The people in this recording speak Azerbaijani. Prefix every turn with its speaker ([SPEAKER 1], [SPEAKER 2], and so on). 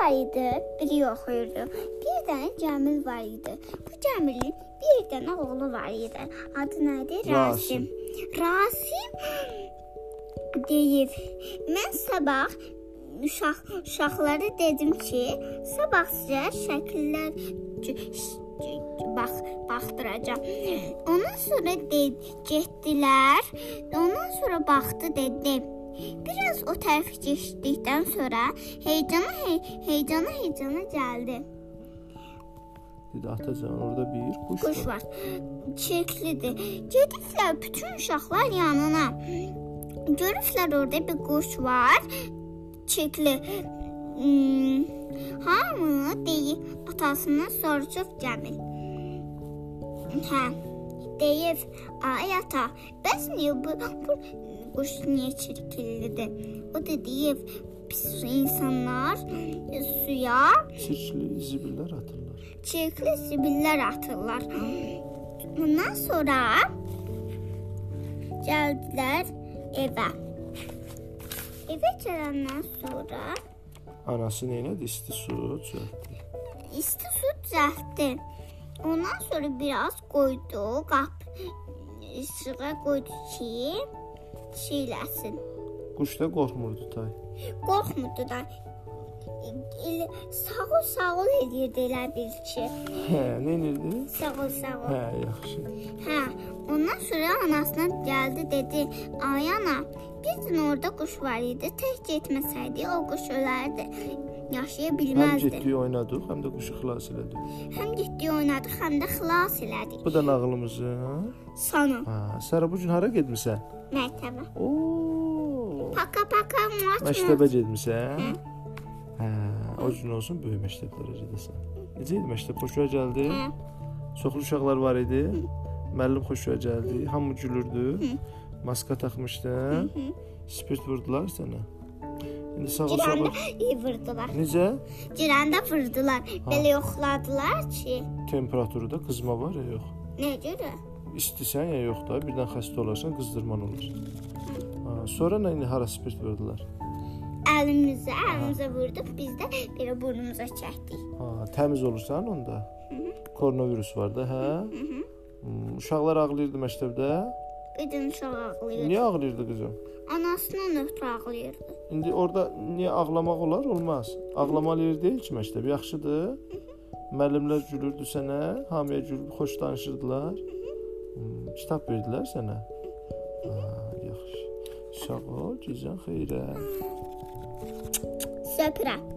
[SPEAKER 1] var idi, biri yox idi. Bir dənə Cəmil var idi. Bu Cəmilin bir dənə oğlu var idi. Adı nə idi? Rasim.
[SPEAKER 2] Rasim.
[SPEAKER 1] Rasim deyir, mən sabah uşaq uşaqlara dedim ki, sabah sizə şəkillər c- ş- c- bax baxdıracağam. Ondan sonra de, getdilər. Ondan sonra baxdı dedi. Biraz o tərəfə keçdikdən sonra heyecana hey, heyecana heyecana gəldi.
[SPEAKER 2] Dedi atacan orada bir kuş,
[SPEAKER 1] Quş var. Çirklidir. Gediblər bütün uşaqlar yanına. Görüblər orada bir quş var. Çirkli. Hmm, hamı deyir atasına soruşub Cəmil. Hə. Deyir, ay ata, bəs niyə bu, bu quş niyə çirklidir? O da deyir, pis insanlar e, suya
[SPEAKER 2] çirkli zibillər atırlar.
[SPEAKER 1] çirkli zibillər atırlar. Bundan sonra gəldilər evə. Evə gələndən sonra
[SPEAKER 2] Anası neylədi? İsti su çörtdü.
[SPEAKER 1] isti su düzəltdi. Ondan sonra biraz qoydu, qap işığa qoydu ki, çiləsin.
[SPEAKER 2] Quş da qorxmurdu tay.
[SPEAKER 1] Qorxmurdu da. Elə sağ ol, sağ ol eləyirdi elə bil ki.
[SPEAKER 2] Hə, neynirdi?
[SPEAKER 1] Sağ ol, sağ ol.
[SPEAKER 2] Hə, yaxşı.
[SPEAKER 1] Hə, ondan sonra anasına gəldi dedi: "Ay ana, bir gün orada quş var idi. Tək getməsəydi o quş ölərdi. Yaşaya
[SPEAKER 2] Həm
[SPEAKER 1] bilməzdi.
[SPEAKER 2] getdik oynadıq, həm də quşu xilas elədik.
[SPEAKER 1] Həm getdi oynadı, həm də xilas elədi.
[SPEAKER 2] Bu da nağılımızın. ha?
[SPEAKER 1] Sonu.
[SPEAKER 2] Ha, Sara bu gün hara getmisən?
[SPEAKER 1] Mərtəbə.
[SPEAKER 2] Oo.
[SPEAKER 1] Paka paka maç.
[SPEAKER 2] Məktəbə getmisən? Hə, o gün olsun böyük məktəb dərəcədəsən. Necə idi məktəb? Xoşuna gəldi?
[SPEAKER 1] Hə.
[SPEAKER 2] Çoxlu uşaqlar var idi. Müəllim xoşuna gəldi. Hamı gülürdü. Maska taxmışdın. Spirt vurdular sənə. İndi sağ ol, sağ
[SPEAKER 1] Girəndə
[SPEAKER 2] ol.
[SPEAKER 1] iyi vurdular.
[SPEAKER 2] Necə?
[SPEAKER 1] Girəndə vurdular. Belə yoxladılar ki,
[SPEAKER 2] Temperaturda qızma var ya yox.
[SPEAKER 1] nə görə?
[SPEAKER 2] İstisən ya yox da, birdən xəstə olarsan, qızdırman olar. Ha, sonra nə indi hara spirt vurdular?
[SPEAKER 1] Əlimizə, əlimizə vurduq, biz də belə burnumuza çəkdik.
[SPEAKER 2] Ha, təmiz olursan onda. Koronavirus var da, hə? Hmm, Uşaqlar ağlayırdı məktəbdə.
[SPEAKER 1] Bir gün uşaq ağlayırdı.
[SPEAKER 2] Niyə ağlayırdı qızım?
[SPEAKER 1] Anasından ötürü ağlayırdı.
[SPEAKER 2] İndi orada niyə ağlamaq olar? Olmaz. Ağlamalı yer deyil ki, məktəb yaxşıdır. Müəllimlər gülürdü sənə, hamıya gülüb xoş danışırdılar. Hmm, Kitab verdilər sənə. Ha, yaxşı. Sağ ol, gecən xeyrə.
[SPEAKER 1] Söpürəm.